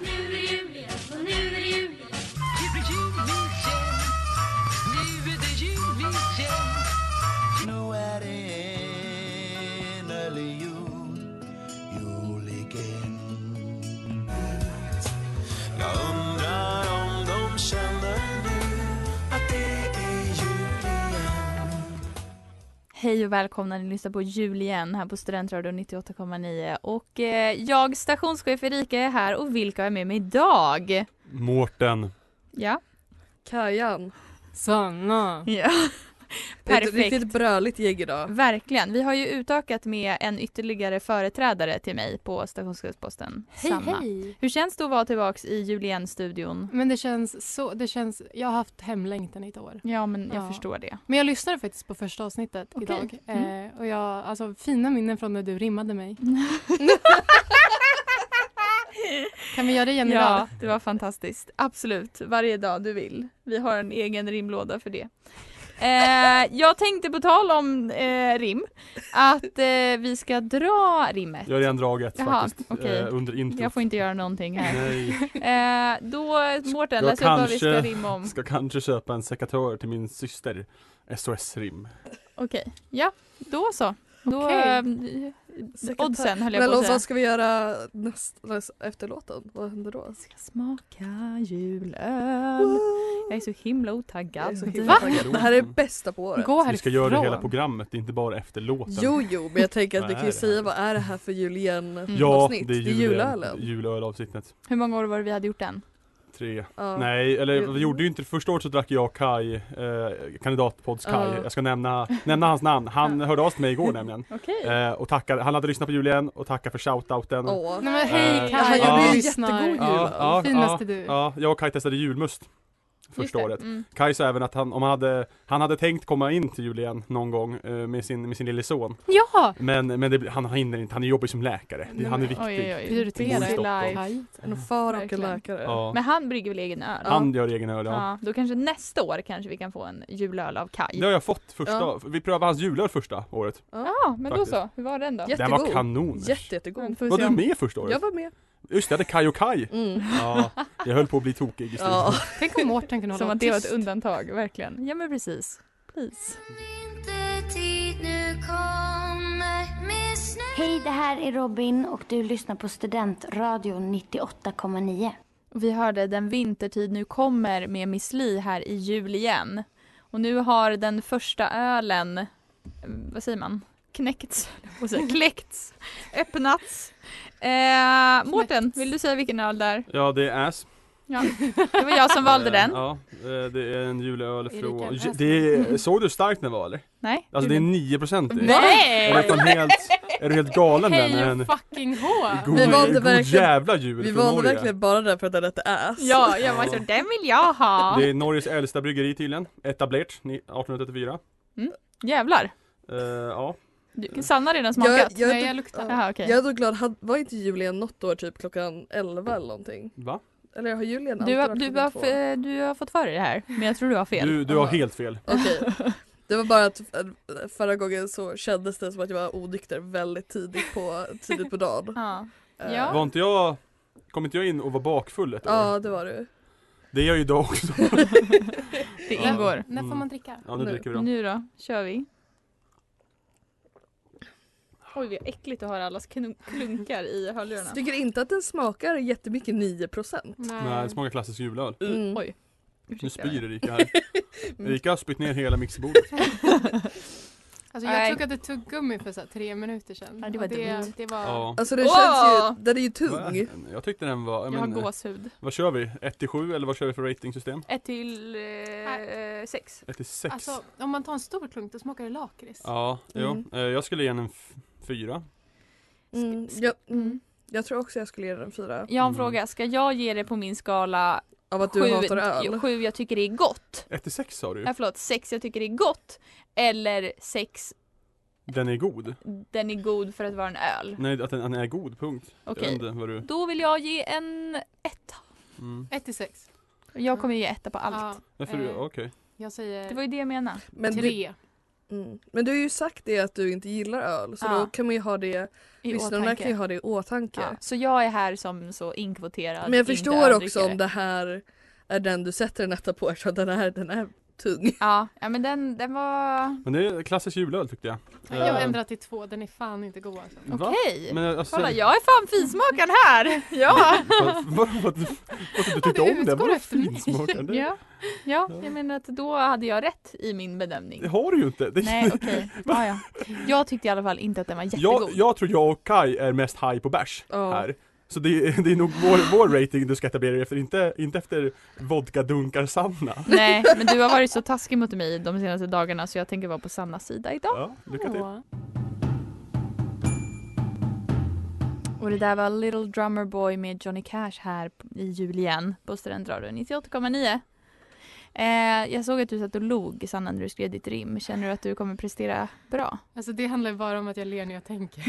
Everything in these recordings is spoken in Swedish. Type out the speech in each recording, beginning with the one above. Nu är det jul igen, och nu är det jul igen. Nu är det innerlig jul, jul igen Jag undrar om de känner nu att det är jul igen Hej och välkomna, ni lyssnar på jul igen här på Studentradion 98,9 och eh, jag stationschef Erika är här och vilka är med mig idag? Mårten. Ja, Kajan. Sanna. ja. Det är ett perfekt. Riktigt bröligt gäng idag. Verkligen, vi har ju utökat med en ytterligare företrädare till mig på stationschefsposten. Sanna. hej. Hur känns det att vara tillbaks i Julien-studion? Men det känns så, det känns, jag har haft hemlängtan i ett år. Ja, men jag Ja. förstår det. Men jag lyssnade faktiskt på första avsnittet Okej. idag. Eh, och jag, alltså fina minnen från när du rimmade mig. Kan vi göra det igen Ja, idag? det var fantastiskt. Absolut, varje dag du vill. Vi har en egen rimlåda för det. Eh, jag tänkte på tal om eh, rim, att eh, vi ska dra rimmet. Jag har redan dragit Jaha, faktiskt okej. eh, under introt. Jag får inte göra någonting här. Nej, Eh, då, Mårten, Jag läs upp vad vi ska kanske rimma om. ska kanske köpa en sekatör till min syster. SOS-rim. Okej, ja då så. Då, Okej. eh, oddsen höll jag Men på att alltså, säga. vad ska vi göra näst, näst, efter låten? Vad händer då? Ska smaka julöl. Jag är så himla Jag är otaggad. så himla Va? taggad. Det här är bästa på året. Gå härifrån. Vi ska göra det hela programmet, det är inte bara efter låten. Jo, jo, men jag tänker att Vad vi kan är ju det här? säga vad är det här för ja, julien-avsnitt? det är, jul, julölen. julölavsnittet. Hur många år var det vi hade gjort den? Tre. Ja. Nej, eller Ju- vi gjorde ju inte det. Första året så drack jag och Kai, eh, kandidatpods Kai. Ja. Jag ska nämna, nämna hans namn. Han hörde av sig till mig igår nämligen. Okej. Eh, och tackade, han hade lyssnat på julen och tackade för shoutouten. Åh. Nej men Eh, hej Han Kaj, ja. Äh, jag Ja. lyssnar. Jättegod Ja, ja, Finaste ja, du. ja, jag och Kai testade julmust första året. Mm. Kaj sa även att han, om han, hade, han hade tänkt komma in till Julien någon gång eh, med sin, med sin lille son. Ja! Men, men det, han hinner inte, han jobbar ju som läkare. Det, han är viktig. Oj, oj, oj. Prioritera Busy i Stockholm. life. Kaj. En far och en Verkligen. läkare. Ja. Men han brygger väl egen öl? Han gör egen öl, ja. Ja, Då kanske nästa år kanske vi kan få en julöl av Kaj. Det har jag fått första, Ja. vi prövade hans julöl första året. Ja, men Faktiskt. då så. Hur var den då? Jätte- Den var Jättegod. kanon. Jätte, jättegod. Får vi Var se du om- med första året? Jag var med. Just det, jag hade Kaj och Kaj. Mm. Ja, jag höll på att bli tokig istället. Ja. Tänk om Mårten kunde Som hålla att det var tyst. ett undantag, verkligen. Ja men precis. Please. Vintertid nu kommer med snö Hej, det här är Robin och du lyssnar på Studentradion 98,9. Och Vi hörde Den vintertid nu kommer med Miss Li här i jul igen. Och nu har den första ölen, eh, vad säger man, knäckts, höll jag på att säga. kläckts, öppnats. Eh, Mårten, vill du säga vilken öl det är? Ja, det är ass. Ja. Det var jag som valde Eh, den. Ja, eh, det är en julöl Erika, från... ass. Det är, såg du hur stark den var eller? Nej? Alltså det är 9% i. Är Nej! du fan helt, är du helt galen Hej den? En och fucking hå! god, Vi valde god verkligen- jävla jul Vi från valde Norge. verkligen bara den för att den hette ass. Ja, jag var så, den vill jag ha. Det är Norges äldsta bryggeri tydligen, etablerat ni- 1834. Jävlar. Eh, ja, Du- Sanna har redan Jag, smakat. jag, Nej, är jag så- luktar. Jaha, okej. jag är så glad, Han- var inte Julian något år typ klockan 11 eller någonting? va? Eller har Julian Du alltid har, varit du, klockan har, två? f- du har fått för dig det här, men jag tror du har fel. Du, du har helt fel. Okej. Det var bara att eh, förra gången så kändes det som att jag var onykter väldigt tidigt på, tidigt på dagen. Ja. Eh, Ja. Var inte jag, kom inte jag in och var bakfull ett år? Ja det var du. Det är jag ju idag också. Det Ja. ingår. När får Mm. man dricka? Ja nu Nu. dricker vi då. Nu då, kör vi. Oj vad äckligt att höra allas knun- klunkar i hörlurarna. Tycker inte att den smakar jättemycket 9%. Nej, Alltså, det smakar klassisk julöl. Mm. Oj. Nu spyr Erika här. Mm. Erika har spytt ner hela mixerbordet. Alltså jag Nej. tuggade tuggummi för så här, tre minuter sedan. Ja, det var Och det, dumt. det var Ja. Alltså den känns Åh! ju, den är ju Vad tung. är den? Jag tyckte den var, Jag har men, gåshud. vad kör vi? 1 till 7 eller vad kör vi för ratingsystem? Ett till eh, sex. 1 till 6? Alltså om man tar en stor klunk då smakar det lakrits. Ja, jo. Mm. Eh, Jag skulle ge den en 4. Mm, jag, mm. jag tror också jag skulle ge den en fyra. Jag har en Mm. fråga, ska jag ge det på min skala Av att du hatar sju, öl. sju jag tycker det är gott? 1 till 6 sa du Nej förlåt, sex jag tycker det är gott. Eller sex, Den är god. den är god för att vara en öl. Nej, att den, den är god, punkt. Jag Okej. vet inte vad du... Då vill jag ge en etta. Mm. Ett till sex. Jag kommer ge etta på allt. Ja, Varför du, Eh. okej. jag säger Det var ju det jag menade. Men du, tre. mm. men du har ju sagt det att du inte gillar öl så Ja. då kan man ju ha det, I lyssnarna åtanke. kan ju ha det i åtanke. Ja, så jag är här som så inkvoterad Men jag inte förstår öldrickare. också om det här är den du sätter en etta på eftersom den är, den är tung. Ja, ja men den, den var Men det är klassisk julöl tyckte jag. Jag har Eh, ändrat till två, den är fan inte god alltså. va? okej. Men alltså, Kolla jag är fan finsmakaren här! Ja! vad- vad- vad- Varför du tyckte Ja, det om det? utgår Vadå efter mig. finsmakande? ja. Ja, jag menar att då hade jag rätt i min bedömning. Det har du ju inte. Det, Nej okej, ja, ja. Jag tyckte i alla fall inte att den var jättegod. jag, jag tror jag och Kai är mest high på bärs Ja. här. Så det, är- det är nog vår, vår rating du ska etablera dig efter, inte, inte efter vodka-dunkar-Sanna. Nej, men du har varit så taskig mot mig de senaste dagarna så jag tänker vara på Sannas sida idag. Ja, lycka till. Åh. Och det där var Little Drummer Boy med Johnny Cash här p- i jul igen på Studentradion 98,9. Eh, jag såg att du satt och log Sanna när du skrev ditt rim. Känner du att du kommer prestera bra? Alltså det handlar ju bara om att jag ler när jag tänker.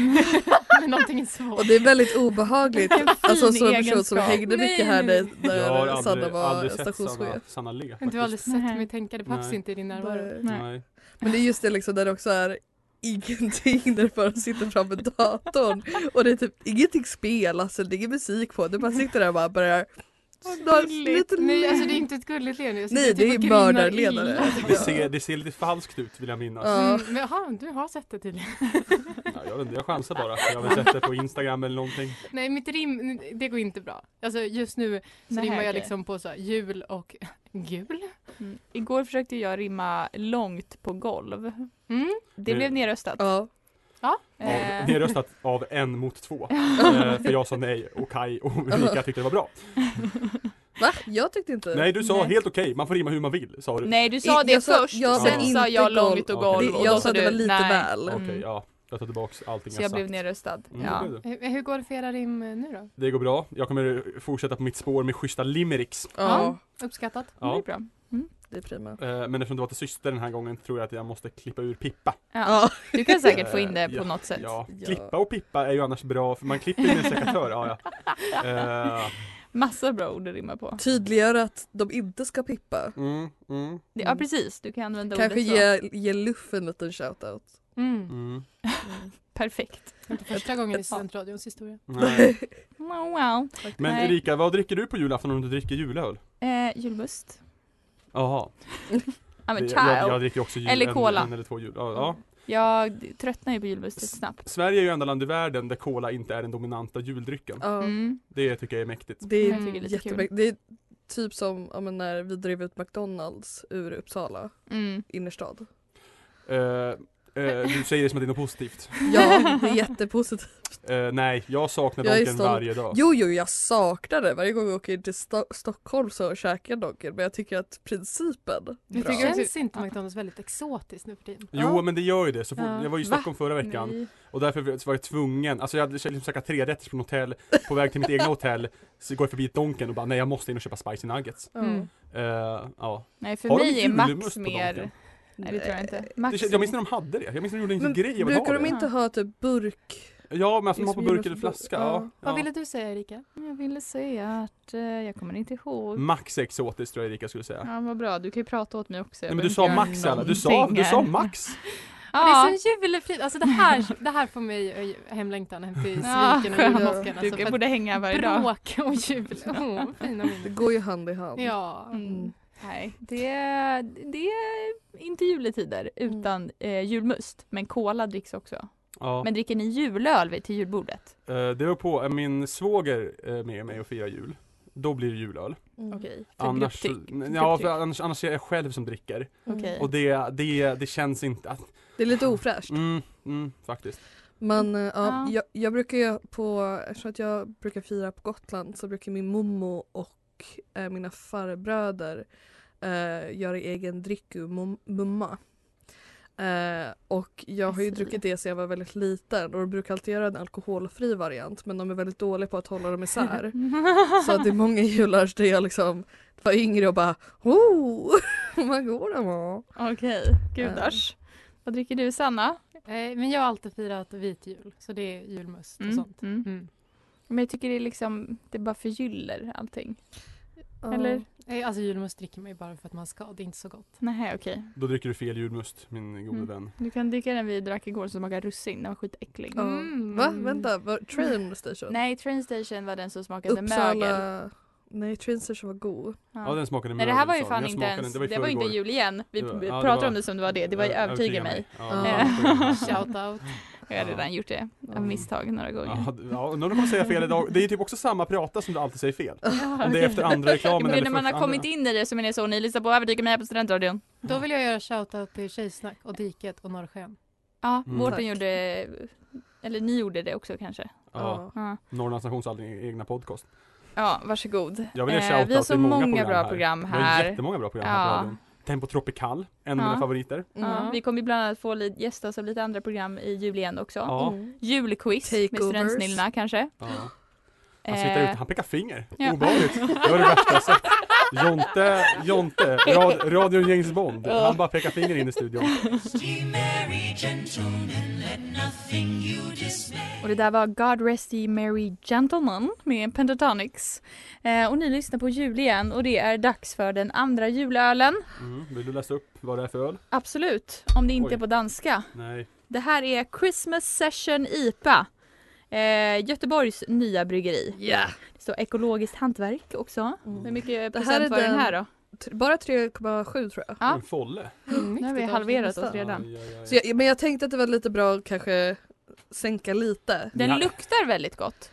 Men någonting är svårt. Och det är väldigt obehagligt. alltså som en person som egenskap. hängde mycket Nej, här nej, när, Jag har när Sanna aldrig, var aldrig sett Sanna, stationschef. Sanna le faktiskt. Men du har aldrig sett Nej. mig tänka, det behövs Nej. inte i din närvaro. Bara- Nej. Nej. Men det är just det liksom där det också är ingenting där du bara sitter framför datorn och det är typ ingenting spelas eller det är ingen musik på. Du bara sitter där och bara börjar Gulligt. Nej alltså det är inte ett gulligt leende. Jag sitter Nej, typ det är och grinar mördarledare. illa. Det ser, det ser lite falskt ut vill jag minnas. Ja. Mm, men aha, du har sett det tydligen. Ja, jag, vet inte, jag chansar bara. Jag har väl sett det på Instagram eller någonting. Nej mitt rim, det går inte bra. Alltså just nu så Nej, rimmar jag okej. liksom på så här, jul och gul. Mm. Igår försökte jag rimma långt på golv. Mm. Det Nu- blev nedröstat. Ja. Av, Eh, Ni har röstat av en mot två. Eh, för jag sa nej och Kai och Ulrika tyckte det var bra. Va? Jag tyckte inte Nej du sa Nej. helt okej, man får rimma hur man vill sa du. nej, du sa Jag det sa- först. jag sa sen sa inte jag golv. långt och Okej. golv. Det- och jag då sa det du, var lite nej. väl. Okej, Mm. ja. Jag tar tillbaks allting Så jag jag sagt. blev nedröstad. Mm, ja. det, blev det. Hur, hur går det för era rim eh, nu då? det går bra. Jag kommer fortsätta på mitt spår med schyssta limericks. Ja, Uppskattat? Det Ja. är bra. det är prima. Mm. Eh, Men eftersom det var till syster den här gången tror jag att jag måste klippa ur Pippa. Ja. Du kan säkert få in det Eh, på ja, något sätt. Ja. Ja. Klippa och pippa är ju annars bra för man klipper ju med en sekatör. Ja, ja. Eh, Massa bra ord att rimma på. Tydliggör att de inte ska pippa. mm, mm, Det- Ja precis, du kan använda Kanske ordet så. ge, eh, ge Luff en liten shoutout. Mm. mm. Perfekt. Det är inte första gången i studentradions historia. Nej. Wow, wow. Men Nej. Erika, vad dricker du på julafton om du dricker julöl? Eh, julmust. Jaha, I'm a Det- child. jag, jag Jag, dricker också jul, Eller en- cola. En eller två jul. Ja, Mm. ja. tröttnar ju på julmustet snabbt. Sverige är ju enda land i världen där cola inte är den dominanta juldrycken. Ja. Mm. Det tycker jag är mäktigt. Det är Jag tycker det är lite jättemycket. Det är typ som ja, men när vi drev ut McDonalds ur Uppsala Mm. innerstad. Eh, eh, du säger det som att det är något positivt. Ja, det är jättepositivt. Eh, nej, jag saknar Jag är donken stolt. varje dag. Jo, jo, jag saknar det. Varje gång jag åker till Sto- Stockholm så käkar jag Dogger men jag tycker att principen Men bra. det känns inte McDonalds väldigt exotiskt nu för tiden? Jo, men det gör ju det. Så fort, Ja. Jag var ju i Va? Stockholm förra veckan. Nej. Och därför var jag tvungen, alltså jag hade liksom käkat tre rätter från hotell, på väg till mitt egna hotell, så går jag förbi ett Donken och bara nej jag måste in och köpa spicy nuggets. Mm. Eh, ja. Nej för Har de mig är julmust Max på mer... Donken? Nej det tror jag inte. Det, Max... kän- jag minns när de hade det, jag minns när de gjorde en Men grej av att brukar ha de det. Eh, inte ha typ burk? Ja men alltså de har på Just burk eller julmust- flaska. ja. Ja. Vad Ja. ville du säga Erika? Mm, Jag ville säga att eh, jag kommer inte ihåg. Max är exotiskt tror jag Erika skulle säga. Ja vad bra, du kan ju prata åt mig också. Jag Nej men behöver du sa inte göra Max alla, du sa, någonting du sa här. Max! Det Ja, är så julefrid. Alltså det här, det här får mig eh, hemlängtan hem till Ja, sviken och julmosken. skönt. Alltså, du för borde hänga varje att dag. bråk och jul. Åh, fina Det minnen. går ju hand i hand. Ja. Mm. Nej, det, Mm. det är inte juletider utan eh, julmust. Men cola dricks också. Ja. Men dricker ni julöl vid- till julbordet? Eh, det beror på, är min svåger eh, med mig och firar jul, då blir det julöl. Mm. Okej. Annars, så- grupptryck. ja, för annars, annars är jag själv som dricker. Okej. Och det, det, det känns inte att, Det är lite ofräscht. mm, mm, faktiskt. Men eh, ja, Mm. Ja. jag, jag brukar ju på, eftersom att jag brukar fira på Gotland så brukar min mommo och eh, mina farbröder eh, göra egen dryck ur mum- mumma. Eh, och jag har ju Jag ser. druckit det sedan jag var väldigt liten och de brukar alltid göra en alkoholfri variant men de är väldigt dåliga på att hålla dem isär. så att det är många jular där jag liksom var yngre och bara oh, vad god den var. Okej, gudars. Vad dricker du Sanna? Eh, men jag har alltid firat vit jul, så det är julmust och sånt. Mm. Mm. Men jag tycker det är liksom, det bara förgyller allting. Ja. Eller? Eh, Alltså julmust dricker man ju bara för att man ska, det är inte så gott. Nej, okej. Då dricker du fel julmust, min gode Mm. vän. Du kan dricka den vi drack igår som smakade russin, den var skitäcklig. Ja. Mm. Va? Vänta, var, train station? Mm. Nej, Train Station var den som smakade mögel. Uppsala... Nej, Train Station var god. Ja, den smakade Nej det här mögel, var ju sa fan den. Jag inte smakade ens, den, det var, ju förrgår. inte jul igen. Vi Det var- p- ja, det pratar var- om det som det var det, det var ju Ö- övertyga mig. Ja, Ja. övertyga mig. Shout out. Jag har redan gjort det Ja. av misstag några gånger. Ja, d- ja, undrar om man säger fel idag. Det är ju typ också samma prata som du alltid säger fel. Om det okej. är efter andra Ja, reklamen men eller när man har första- kommit in i det så menar jag så, ni lyssnar på Övertyga mig här på Studentradion. Då vill jag göra shoutout till Tjejsnack och Diket och Norrsken. Ja, Mm. Mårten Tack. gjorde, eller ni gjorde det också kanske. Ja, Ja, Norrlands Nations alldeles egna podcast. ja varsågod. Jag vill ge Eh, shoutout vi har så till många, många program bra här. program Vi har här. jättemånga bra program här på Ja. radion. Tempo Tropical, en av Ja. mina favoriter. Ja, vi kommer ju bland annat få li- gästas av lite andra program i jul igen också. Ja. Julquiz med Takeovers. Studentsnillena kanske. ja. Han sitter Eh, ute, han pekar finger. ja. Obehagligt. Det var det värsta jag sett. Jonte, Jonte, rad, radion James Bond. Han bara pekar finger in i studion. Och det där var God Rest Ye Merry Gentlemen med Pentatonics. Eh, och ni lyssnar på jul igen och det är dags för den andra julölen. Mm. Vill du läsa upp vad det är för öl? Absolut, om det inte Oj. är på danska. Nej. Det här är Christmas Session IPA. Eh, Göteborgs nya bryggeri. Yeah. Det står ekologiskt hantverk också. Mm. Mm. Hur mycket Det här är procent var den, den- här då? T- Bara 3,7 tror jag. Ja. En folle. Nu har vi Viktigt halverat nästan. oss redan. Aj, aj, aj. Så jag. Men jag tänkte att det var lite bra att kanske sänka lite. Den Ja. luktar väldigt gott.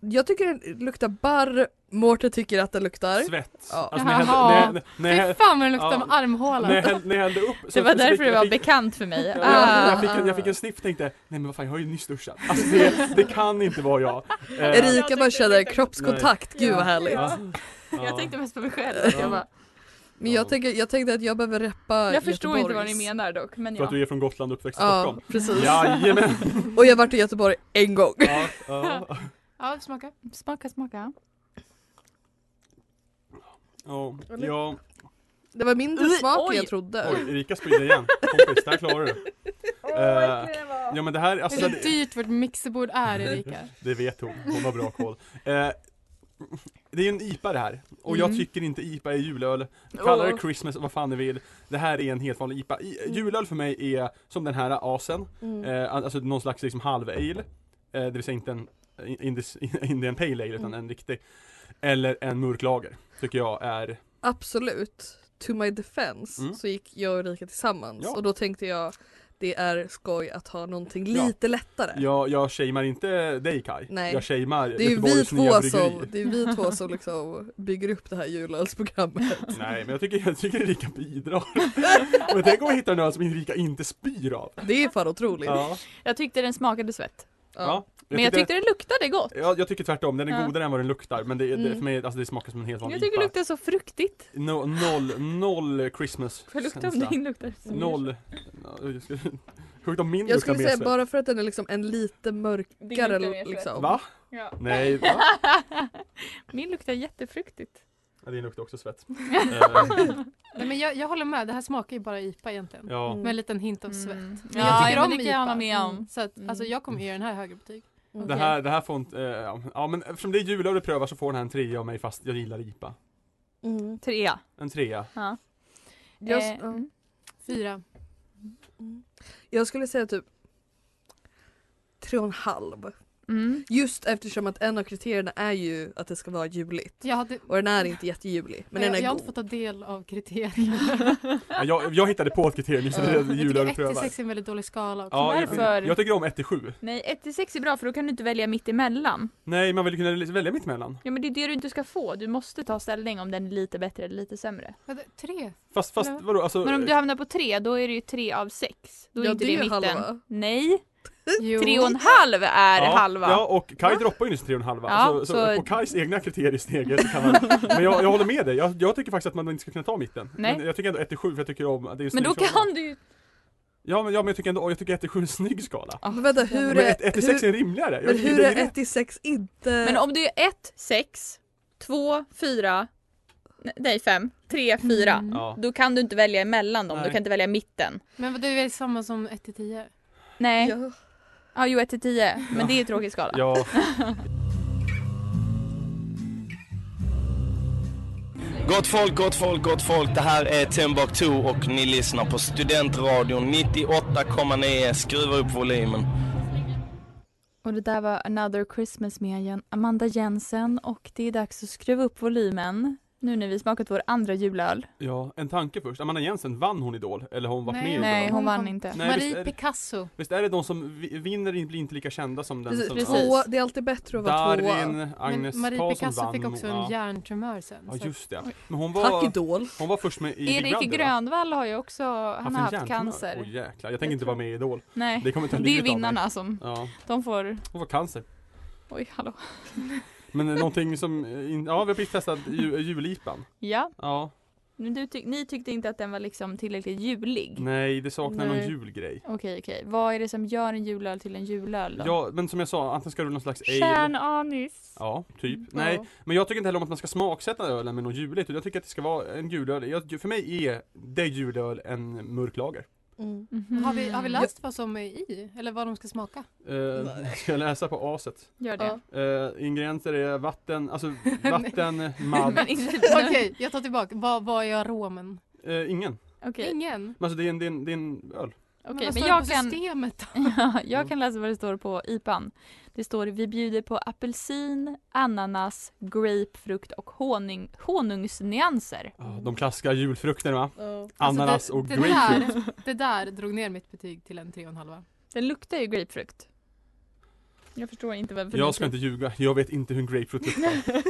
Jag tycker den luktar barr, Mårten tycker att den luktar. Svett. Ja. Alltså, när jag hällde- när jag- när- när jag- Fy fan vad det luktar Ja. med armhålan. när jag hällde- när jag hällde upp. så- Det var så fick- därför det jag var fick- bekant för mig. Ja, Ah. jag, jag, fick en, jag fick en sniff tänkte, nej men vad fan jag har ju nyss duschat. Alltså det, det kan inte vara jag. Eh, Erika bara känner kroppskontakt, gud vad härligt. ja. Ja. Jag tänkte mest på mig själv. Ja. Jag, bara, Men jag, Ja. tänker, jag tänkte att jag behöver reppa jag förstår inte vad ni Göteborgs. menar dock. Men För att ja. du är från Gotland och uppväxt i Ja, Stockholm. precis. Jajamän! Och jag har varit i Göteborg en gång. Ja, ja. Ja, smaka. Smaka, smaka. Ja, ja. Det var mindre smak än oj. jag trodde. Oj, Erika sprider igen. Kompis, det här klarar du. Eh, ja men det här, alltså, Det är så det, dyrt vårt mixerbord är Erika. det vet hon, hon har bra koll. Eh, det är ju en IPA det här, och jag Mm. tycker inte IPA är julöl. Kalla det Åh. Christmas, vad fan ni vill. Det här är en helt vanlig IPA. I, julöl för mig är som den här asen, Mm. Eh, alltså någon slags liksom halv-ale, eh, det vill säga inte en Indis, Indian Pale Ale utan Mm. en riktig. Eller en mörk lager, tycker jag är, Absolut. To my defense Mm. så gick jag och Erika tillsammans Ja. och då tänkte jag det är skoj att ha någonting Ja. lite lättare. jag, jag shamear inte dig Kai. Nej. Jag shamear Det är ju vi Göteborgs två nya bryggeri. som, det är vi två som liksom bygger upp det här julölsprogrammet. Nej men jag tycker, jag tycker Erika bidrar. men tänk om vi hittar en öl som Erika inte spyr av. Det är fan otroligt. Ja, Jag tyckte den smakade svett. ja. Men jag tyckte den luktade gott. Ja, jag tycker tvärtom, den är Ja. godare än vad den luktar men det, är- det, Mm. för mig, alltså det smakar som en helt vanlig Jag tycker det IPA. luktar så fruktigt. No, noll, noll Christmas Får jag lukta om din luktar? så mycket? Noll. Ja, jag skulle- Sjukt om min Jag luktar skulle mer säga svett. bara för att den är liksom en lite mörkare Det luktar mer liksom. Va? Ja. Nej, va? Min luktar jättefruktigt. Ja, din luktar också svett. Eh, Nej, men jag, jag håller med, det här smakar ju bara IPA egentligen. ja. Mm. Med en liten hint av svett. Mm. Men Ja, jag tycker men om det kan jag IPA. hålla med om. Mm. Så att, alltså, jag kommer ge den här högre betyg. Det här, det här får inte, eh, ja. ja men eftersom det är jul och du prövar så får den här en trea av mig fast jag gillar IPA. Mm. Trea. En trea. Ja. Jag, Eh, ja. mm. Fyra. jag skulle säga typ tre och en halv. Mm. Just eftersom att en av kriterierna är ju att det ska vara juligt. Jag, hade, Och den är inte jättejulig, men jag, den är jag har god. inte fått ta del av kriterierna. Ja, Jag, jag hittade på ett kriterium just Ja. det det jag tycker julöl 1 och till prövar. 6 är en väldigt dålig skala också. Ja, jag, Varför? jag tycker om 1 till 7. Nej, 1 till 6 är bra för då kan du inte välja mitt emellan. Nej, man vill kunna välja mittemellan. Ja men det är det du inte ska få. Du måste ta ställning om den är lite bättre eller lite sämre. Vadå, Tre? Fast, fast Eller? vadå, alltså, Men om du hamnar på 3 då är det ju 3 av 6. Då är Ja, inte det är det i mitten. halva. Nej, Jo. 3,5 är ja, halva. Ja, och Kaj droppar ju nyss 3,5. Ja, alltså, så, så- på Kajs egna kriterier i steget så kan man, men jag, jag håller med dig, jag, jag tycker faktiskt att man inte ska kunna ta mitten. Nej. Men jag tycker ändå 1 till 7 för jag tycker om, att det är en Men då snygg skala. kan du ju... Ja men, ja men jag tycker ändå, jag tycker 1 till 7 är en snygg skala. Ah, Men vänta, hur Men 1 är, till 6 är hur, en rimligare. men Jag- hur det är det. 1 till 6 inte... Men om du är 1, 6, 2, 4, nej 5, 3, 4. Mm. Ja. Då kan du inte välja emellan dem, Nej. du kan inte välja mitten. Men vadå, det är väl samma som 1 till 10? Nej, ja, Ja. jo 1 till 10. Men det är ju tråkig skala. Ja, Gott folk, gott folk, gott folk. Det här är Timbuktu och ni lyssnar på Studentradion 98,9. Skruva upp volymen. Och det där var Another Christmas med Jan- Amanda Jensen och det är dags att skruva upp volymen nu när vi smakat vår andra julöl. ja, en tanke först. Amanda Jensen, vann hon Idol? Eller har hon varit med i Nej, Idol? hon vann inte. Nej, visst Marie är det- Picasso. Visst är det de som vi- vinner in- blir inte lika kända som den Precis, som precis. Tvåa, det är alltid bättre att vara tvåa. Darin, Agnes men Marie Karlsson Picasso vann. fick också en ja. hjärntumör sen. ja, så just det. Men hon Tack var, Idol. hon var först med i Big Erik Brother, va? Grönvall har ju också, han har en haft hjärntumör. cancer. Åh jäklar, jag tänker inte vara med i Idol. Nej, Det kommer ta det är livet av mig. vinnarna som, Ja, de får, hon får cancer. oj hallå. Men eh, någonting som, eh, in, ja vi har precis testat ju, eh, julipan. Ja, Ja, men du tyck, ni tyckte inte att den var liksom tillräckligt julig. nej det saknar Nej. någon julgrej. Okej okej, vad är det som gör en julöl till en julöl då? Ja, men som jag sa, antingen ska du någon slags ale. Kärnanis. Ja, Mm, typ. Nej, men jag tycker inte heller om att man ska smaksätta ölen med något juligt. utan Jag tycker att det ska vara en julöl. Jag, för mig är det julöl en mörk lager. Mm. Mhm. Har vi, har vi läst vad som är i? Eller vad de ska smaka? Eh, ska jag läsa på aset? Gör det. Eh, ingredienser är vatten, alltså vatten, eh, malt, Men inte Okej, jag tar tillbaka. Vad, vad är aromen? eh, ingen. Okej, Ingen. Men Alltså det är en, det är en, det är en öl. okej, vad men står jag det på kan... systemet då? Ja, jag Mm. kan läsa vad det står på IPAn. Det står vi bjuder på apelsin, ananas, grapefrukt och honung, honungsnyanser. Ah, de klassiska julfrukterna va? Ja. Alltså, Ananas det- och det grapefruit. Där, det där drog ner mitt betyg till en tre och en halva. Den luktar ju grapefrukt. Jag förstår inte varför Jag den- ska inte ljuga, jag vet inte hur en grapefruit luktar.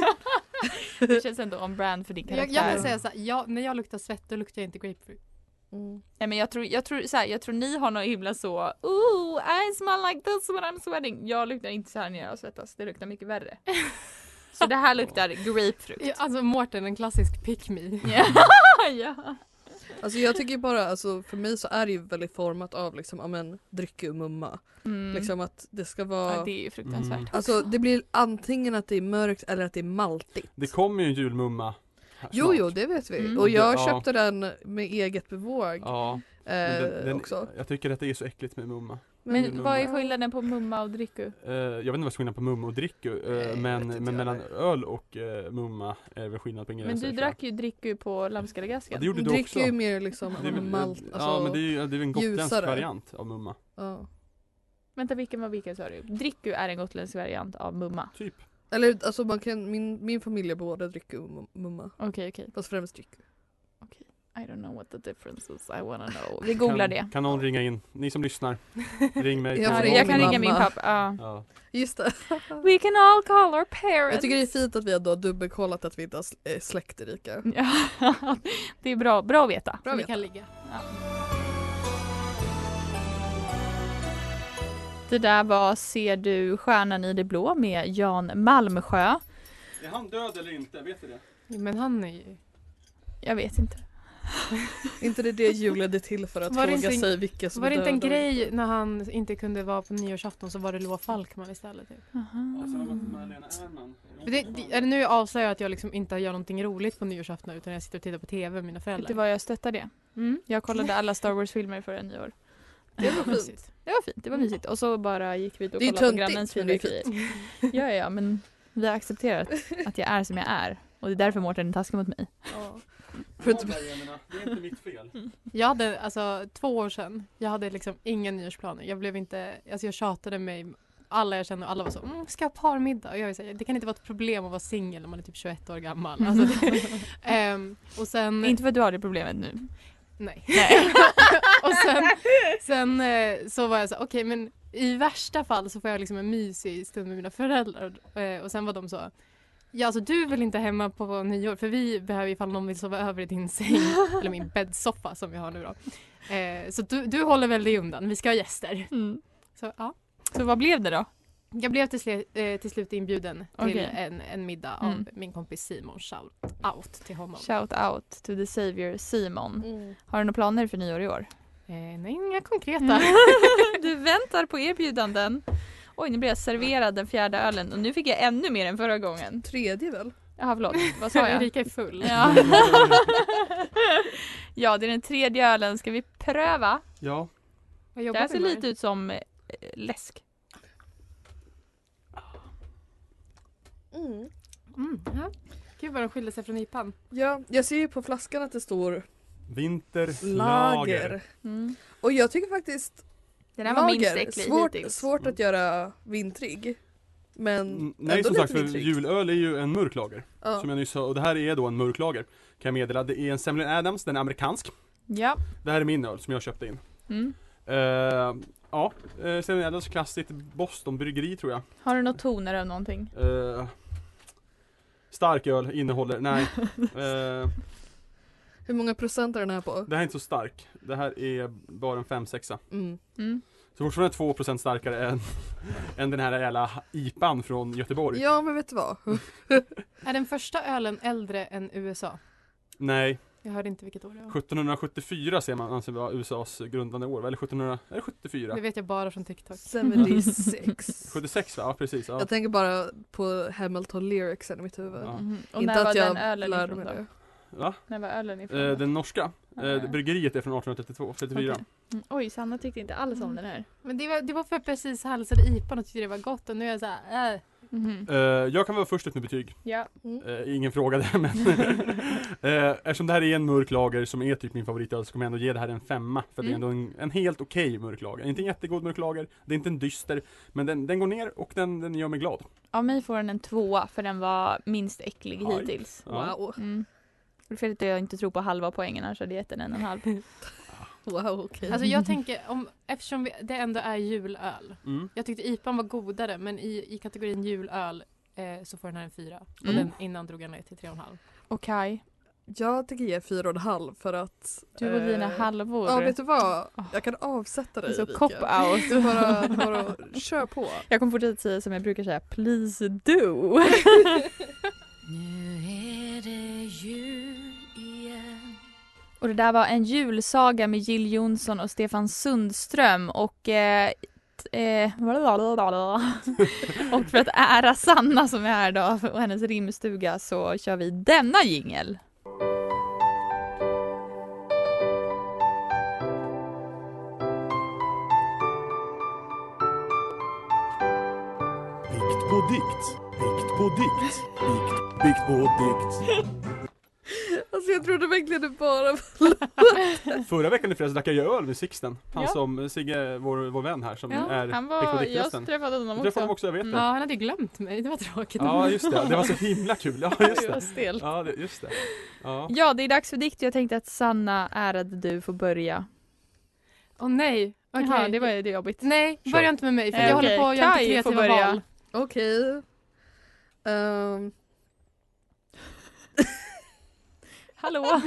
Det känns ändå on brand för din Jag, karaktär. jag kan säga så här, jag, när jag luktar svett då luktar jag inte grapefruit. Mm. Nej men jag tror, jag tror så här, jag tror ni har någon himla så Ooh, I smell like this when I'm sweating. Jag luktar inte så här när jag svettas, det luktar mycket värre. Så det här luktar grapefrukt. Ja, Alltså Mårten, en klassisk pick me. Ja, ja. Alltså jag tycker bara, alltså, för mig så är det ju väldigt format av liksom, ja men dryck ur mumma. Mm. Liksom att det ska vara, ja, det är ju fruktansvärt. Mm. alltså det blir antingen att det är mörkt eller att det är maltigt. Det kommer ju en julmumma. här Jo snart. jo det vet vi, Mm. och jag Ja. köpte den med eget bevåg Ja, eh, men den, den, också. jag tycker att det är så äckligt med mumma. Men Mm. vad är skillnaden på mumma och dricku? Eh, jag vet inte vad skillnaden på mumma och dricku, eh, Nej, jag vet men, inte men jag mellan heller. öl och eh, mumma är väl skillnad på Men ingredienser. du tror jag. drack ju dricku på ja, lammskallegasken. det gjorde du Dricker också. ju mer liksom Det är väl- malt, alltså, ja men det är ju det är väl en gotländsk ljusare. variant av mumma. ja. Vänta vilken var vilken sa du? Dricku är en gotländsk variant av mumma. Typ. Eller alltså man kan, min, min familj är båda dricker ur mum- mumma, Okej okej. fast främst dricker. I don't know what the difference is, I wanna know. Vi googlar kan, det. Kan någon ringa in? Ni som lyssnar, ring mig. Jag Ja, får jag kan min ringa min mamma. pappa. Ja. Ja. Just det. We can all call our parents. Jag tycker det är fint att vi har då dubbelkollat att vi inte har sl- eh, släkt i Rika. Ja, det är bra, bra att veta. Bra Mm. vi vet. kan ligga. Det där var Ser du stjärnan i det blå med Jan Malmsjö. Är han död eller inte? Vet du det? Men han är ju... Jag vet inte. inte det det julen är till för att Var det fråga inte en- sig vilka som Var det inte en döda? grej när han inte kunde vara på nyårsafton så var det Loa Falkman istället? Typ. För Det, det, eller nu avslöjar jag att jag liksom inte gör någonting roligt på nyårsafton utan jag sitter och tittar på TV med mina Vet du föräldrar. vad jag stöttar det? Mm. Jag kollade alla Star Wars-filmer förra nyår. Det var fint. Precis. Det var fint, det var mysigt. Och så bara gick vi ut och Det är ju kollade på töntigt, grannens men det är fyrverkerier. Ja, ja, ja, men vi har accepterat att jag är som jag är. Och det är därför Mårten är taskig mot mig. För att- Det är inte mitt fel. Jag hade alltså två år sedan, jag hade liksom inga nyårsplaner. Jag blev inte, alltså jag tjatade mig alla jag känner och alla var så, mm, ska ha parmiddag? Och jag är så här, det kan inte vara ett problem att vara singel när man är typ 21 år gammal. Alltså, det, Ehm, och sen, Inte för att du har det problemet nu. nej. Nej. och sen, sen eh, så var jag så här, okej men i värsta fall så får jag liksom en mysig stund med mina föräldrar. Eh, Och sen var de så, ja alltså du vill inte hemma på nyår för vi behöver ifall någon vill sova över i din säng, eller min bäddsoffa som vi har nu då. Eh, Så du, du håller väl dig undan, vi ska ha gäster. Mm. Så ja. Så vad blev det då? Jag blev till, sle- eh, till slut inbjuden till Okej. en, en middag Mm. av min kompis Simon. Shout out till honom. Shout out to the savior Simon. Mm. Har du några planer för nyår i år? Eh, nej, inga konkreta. Du väntar på erbjudanden. Oj, nu blev jag serverad den fjärde ölen och nu fick jag ännu mer än förra gången. Tredje väl? Jaha, förlåt. Vad sa jag? Erika är full. Ja. ja, det är den tredje ölen. Ska vi pröva? Ja. Vad Det jobbar här du ser med? lite ut som eh, läsk. Mm. Mm, ja. Gud vad de skiljer sig från IPan. Ja, jag ser ju på flaskan att det står Vinterlager. lager. Mm. Och jag tycker faktiskt Den här var minst lager, äcklig svårt, hittills. svårt att göra vintrig. Men Mm, Nej ändå som lite sagt, för vintrig. julöl är ju en mörklager. Ja. Som jag nyss sa, och det här är då en mörklager. Kan jag meddela, det är en Semlin Adams, den är amerikansk. Ja. Det här är min öl som jag köpte in. Mm. Eh, ja, uh, Semlin Adams klassiskt Boston bryggeri tror jag. Har du några toner av någonting? Eh, stark öl innehåller, nej. Eh, Hur många procent är den här på? det här är inte så stark. Det här är bara en 5-6. Mm. Mm. Så fortfarande 2% starkare än, än den här jävla IPan från Göteborg. Ja men vet du vad? Är den första ölen äldre än USA? Nej, Jag hörde inte vilket år det var. 1774 ser man anser vara USAs grundande år, va? eller 1700, är det 74? Det vet jag bara från TikTok. 76. 76 va? Ja precis. Ja. Jag tänker bara på Hamilton lyricsen i mitt huvud. Ja. Mhm. Och Inte när var att den jag ölen lärde ifrån mig då? det. Va? När var ölen ifrån? Eh, då? den norska. Eh, bryggeriet är från 1832, 34. Okej. Mm. Oj, Sanna tyckte inte alls om den här. Men det var, det var för att jag precis halsade IPan och tyckte det var gott och nu är jag såhär, äh. Mhm. Eh, jag kan vara först ut med betyg. Ja. Eh, ingen fråga där men. eh, eftersom det här är en mörk lager som är typ min favoritöl så kommer jag ändå ge det här en femma. För det är ändå en, en helt okej mörk lager. Inte en jättegod mörk lager, det är inte en dyster. Men den, den går ner och den, den gör mig glad. Av mig får den en tvåa för den var minst äcklig Oj. hittills. Ja. Wow. Mm. Det är fel att jag inte tror på halva poängen annars hade jag gett den en och en halv. Wow okej. Alltså jag tänker, om, eftersom vi, det ändå är julöl. Mm. Jag tyckte IPan var godare men i, i kategorin julöl eh, så får den här en fyra. Och Mm. den innan drog jag ner till tre och en halv. Okej. Jag tänker ge fyra och en halv för att Du och dina eh, halvor. Ja vet du vad? Åh. Jag kan avsätta dig Så Erika. cop out. Du bara, du bara kör på. Jag kommer fortsätta säga som jag brukar säga, please do. Nu är det jul igen Och det där var en julsaga med Jill Johnson och Stefan Sundström och eh, t- eh, blablabla. och för att ära Sanna som är här idag och hennes rimstuga så kör vi denna jingel. Dikt på dikt, dikt på dikt, dikt, dikt på dikt. Alltså jag trodde verkligen det bara var... Förra veckan i fredags drack jag ju öl med Sixten. Han Ja. som, Sigge, vår, vår vän här som är han Pick på var, jag diktgästen. träffade honom Du träffade också. Mm. honom också, jag vet Ja, det. han hade ju glömt mig, det var tråkigt. Ja just det, det var så himla kul. Ja just Oj, det. vad stelt. Ja det, just det. Ja. Ja, det är dags för dikt. Jag tänkte att Sanna, ärade du, får börja. Åh nej, okej. Jaha, det var ju det jobbigt. Nej, Kör. börja inte med mig för Eh, jag okej. håller på att göra Kai får kreativa börja. val. Okej. Ehm, Hallå!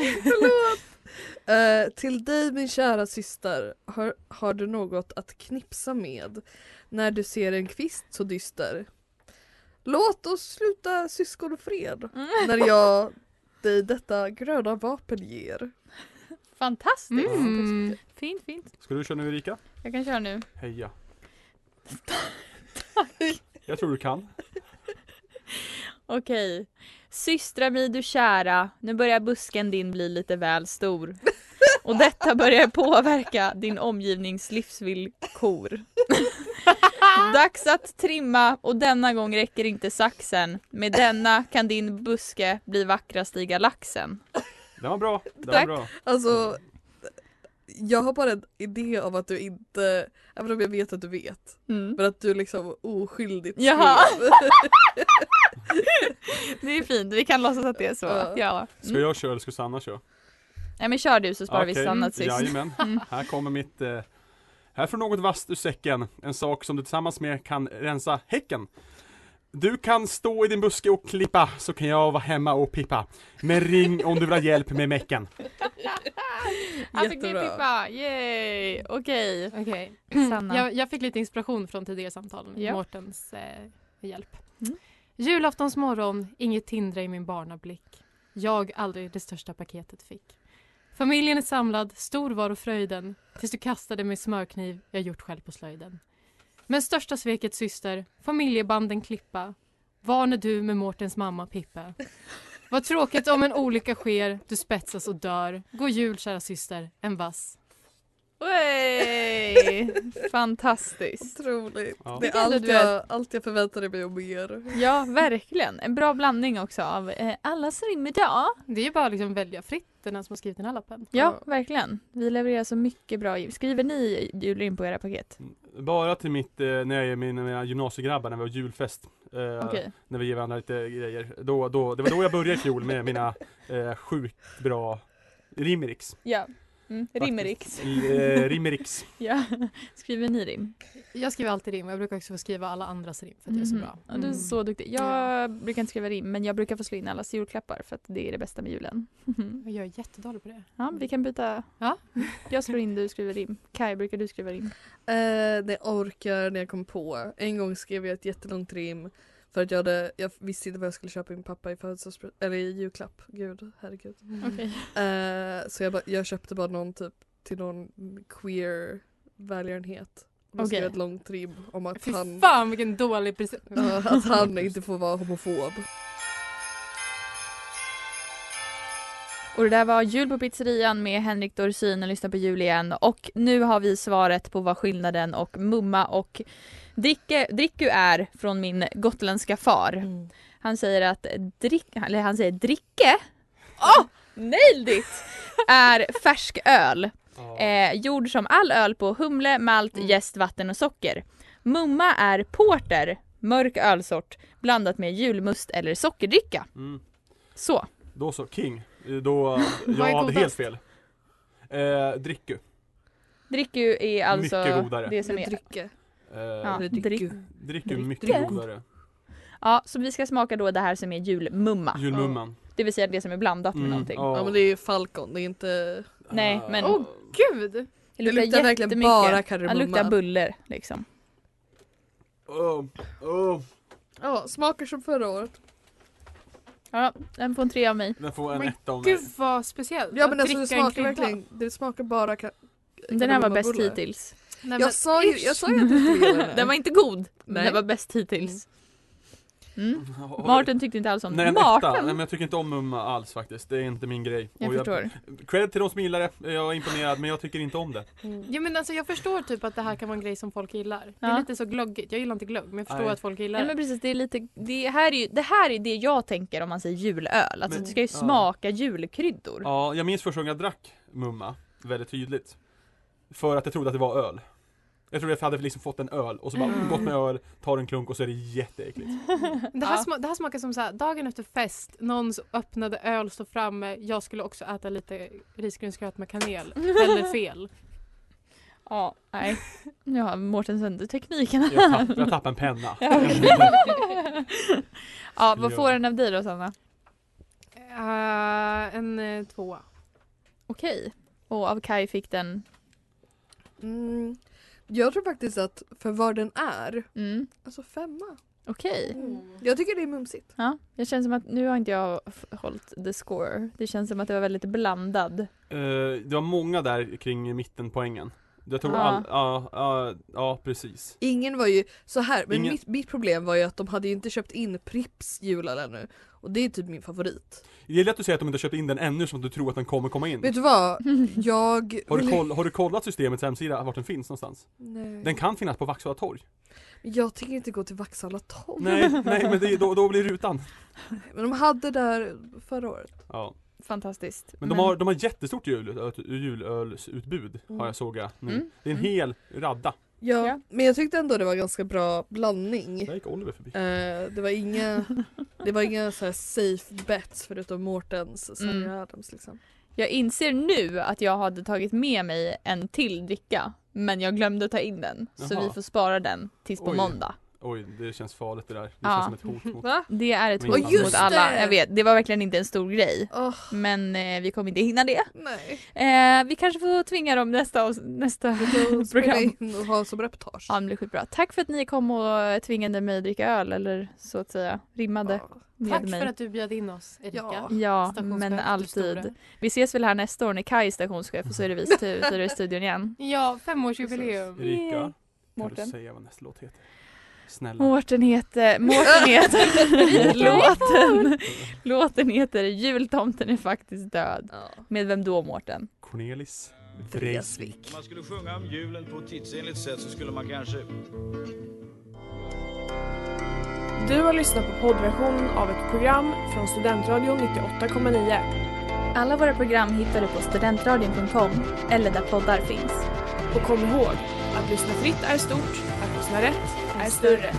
Eh, till dig min kära syster, har, har du något att knipsa med när du ser en kvist så dyster? Låt oss sluta syskonfred Mm. när jag dig detta gröna vapen ger. Fantastiskt! Mm. Fint, fint. Ska du köra nu Erika? Jag kan köra nu. Heja. Jag tror du kan. Okej. Systra mi du kära, nu börjar busken din bli lite väl stor. Och detta börjar påverka din omgivnings livsvillkor. Dags att trimma och denna gång räcker inte saxen. Med denna kan din buske bli vackrast i galaxen. Den var bra. Den var Tack. bra. Alltså jag har bara en idé om att du inte, även om jag vet att du vet, Mm. men att du liksom oskyldigt Jaha. skrev. Det är fint, vi kan låtsas att det är så. Ja. Ja. Ska jag köra eller ska Sanna köra? Nej men kör du så sparar vi Okej, Sanna sist. Mm. Jajamän. Här kommer mitt eh, Här får något vasst ur säcken. En sak som du tillsammans med kan rensa häcken. Du kan stå i din buske och klippa, så kan jag vara hemma och pippa. Men ring om du vill ha hjälp med mecken. Han fick ny Jättebra. pippa, Alltså, yay! Okej. Okej. Sanna. Jag, jag fick lite inspiration från tidigare samtal med Ja. Mm. Mårtens eh, hjälp. Julaftons morgon, inget tindra i min barnablick. Jag aldrig det största paketet fick. Familjen är samlad, stor var och fröjden tills du kastade mig smörkniv jag gjort själv på slöjden. Men största sveket syster, familjebanden klippa var när du med Mårtens mamma Pippe. Vad tråkigt om en olycka sker, du spetsas och dör. God jul kära syster, en vass. Wey! Fantastiskt. Otroligt. Ja. Det Vilken är ändå allt duell. jag, allt jag förväntade mig och mer. Ja, verkligen. En bra blandning också av eh, allas rim idag. Det är ju bara liksom välja fritt den här som har skrivit den här lappen. Ja, verkligen. Vi levererar så mycket bra jul. Skriver ni julrim på era paket? Mm, Bara till mitt, eh, när jag är med mina gymnasiegrabbar när vi har julfest. Eh, Okej. När vi ger varandra lite grejer. Då, då, det var då jag började i fjol med mina eh, sjukt bra Rimeriks. Ja. Mm. Faktiskt. Rimmerix. L- eh, Rimeriks. ja. Skriver ni rim? Jag skriver alltid rim och jag brukar också få skriva alla andras rim för att jag är så bra. Mhm. Mm. Ja, Mm. Du är så duktig. Jag brukar inte skriva rim men jag brukar få slå in allas julklappar för att det är det bästa med julen. Jag är jättedålig på det. Ja, vi kan byta. Ja. Jag slår in, du skriver rim. Kai, brukar du skriva rim? Eh, det orkar när jag kom på. En gång skrev jag ett jättelångt rim för att jag, hade, jag visste inte vad jag skulle köpa min pappa i födelsedagspresent, eller i julklapp. Gud, herregud. Okej. Eh, så jag, bara- jag köpte bara någon typ till någon queer välgörenhet. Och då skrev Okej. jag ett långt rim om att Fy han, fan vilken dålig present. ja, att han inte får vara homofob. Och det där var Jul på pizzerian med Henrik Dorsin och lyssna på jul igen. Och nu har vi svaret på vad skillnaden och mumma och dricke, dricku är från min gotländska far. Han säger att drick, eller han säger dricke, oh, nailed it! är färsk öl. Eh, gjord som all öl på humle, malt, jäst, vatten och socker. Mumma är porter, mörk ölsort blandat med julmust eller sockerdricka. Mm. Så. Då så, King. Eh, Då, Vad jag är hade godast? helt fel. Eh, dricku. Dricku är Mycket alltså godare. det som är... Drycke. Eh, Ja, dricku. Dricku mycket Dricku. godare. Ja, så vi ska smaka då det här som är julmumma. Julmumman. Det vill säga det som är blandat med Mm, någonting. ja. Eh, oh, Ja men det är ju Falcon, det är inte... Nej men Åh gud! det Oh, det luktar, luktar verkligen jättemycket. bara Det kardemumma. luktar buller liksom. Oh, oh. Ja, smakar som förra året. Ja, den får en tre av mig. Den får en Men etta av mig. Gud vad speciellt. Ja Att men alltså det dricka en smakar krydda. verkligen, det smakar bara ka- Den här var kardemummabullar. bäst hittills. Nej, men, Jag sa ju, jag sa ju att du inte ville göra det. Den var inte god, men Nej. den var bäst hittills. Mm. Oh, oh. Martin tyckte inte alls om Nej den. en etta, Nej, men Martin! jag tycker inte om mumma alls faktiskt, det är inte min grej. Jag Och förstår. cred till de som gillar det, jag är imponerad men jag tycker inte om det. ja, men alltså, jag förstår typ att det här kan vara en grej som folk gillar. Det Ja. är lite så glöggigt. Jag gillar inte glögg men jag förstår Nej. att folk gillar Nej men precis, det är lite, det här är ju, det här är det jag tänker om man säger julöl. Alltså Men- det ska ju ja. smaka julkryddor. Ja, jag minns första gången jag drack mumma, väldigt tydligt. För att jag trodde att det var öl. Jag trodde jag hade liksom fått en öl och så bara gått med öl, tar en klunk och så är det jätteäckligt. det. Det här, Ja. sma- det här smakar som så här, dagen efter fest, någons öppnade öl står framme, jag skulle också äta lite risgrynsgröt med kanel. Eller fel. Ja, nej. Ja, Mårten sönder tekniken Jag, här. tapp, jag tappade en penna. Ja, okej. ja, vad Ja. får den av dig då Sanna? Eh, en eh, tvåa. Okej. Och av Kai fick den, Mm, jag tror faktiskt att för vad den är, mm, alltså femma. okej. Jag tycker det är mumsigt. Ja, jag känns som att nu har inte jag f- hållit the score. Det känns som att det var väldigt blandad. Eh, det var många där kring mittenpoängen. Jag tror Ja. all, ja, ja, ja precis. Ingen var ju så här, men Ingen- mitt, mitt problem var ju att de hade ju inte köpt in Pripps julöl ännu. Och det är typ min favorit. Det är lätt att säga att de inte har köpt in den ännu som att du tror att den kommer komma in. Vet du vad? Jag... Har du, vill- koll, har du kollat systemets hemsida, vart den finns någonstans? Nej. Den kan finnas på Vaxholm torg. Jag tänker inte gå till Vaxhalla torg. Nej, nej men det, är- då, då blir rutan. Men de hade där förra året. Ja. fantastiskt. Men de har, de har jättestort jul, julölsutbud har jag sågat nu. Mm, Det är en mm. hel radda. Ja, men jag tyckte ändå det var ganska bra blandning. Där gick Oliver förbi. Eh, det var inga, det var inga så här safe bets förutom Mårtens Sverige Mm. Adams liksom. Jag inser nu att jag hade tagit med mig en till dricka men jag glömde ta in den så Jaha. vi får spara den tills på Oj. måndag. Oj, det känns farligt det där. Det Ja. känns som ett hot mot... Det är ett Men hot inte mot mot- alla, det! jag vet. Det var verkligen inte en stor grej. Åh, Men eh, vi kommer inte hinna det. nej. Eh, vi kanske får tvinga dem nästa, avs- nästa Då spelar program. jag in och ha som reportage. Ja, men det blir skitbra. Tack för att ni kom och tvingade mig att dricka öl eller så att säga rimmade Ja. med Tack mig. för att du bjöd in oss, Erika. Ja. Ja, Stationschef, men du alltid. store. Vi ses väl här nästa år när Kaj är stationschef och så är det vi i stu- så är det i studion igen. Ja, femårsjubileum. Erika, Yay. kan Mårten. du säga vad nästa låt heter? Snälla. Mårten heter, Mårten heter, låten, låten heter Jultomten är faktiskt död. Ja. Med vem då Mårten? Cornelis Vreeswijk. Om man skulle sjunga om julen på ett tidsenligt sätt så skulle man kanske... Du har lyssnat på poddversionen av ett program från Studentradion 98,9 Alla våra program hittar du på studentradion.com eller där poddar finns. och kom ihåg att lyssna fritt är stort, att lyssna rätt är större.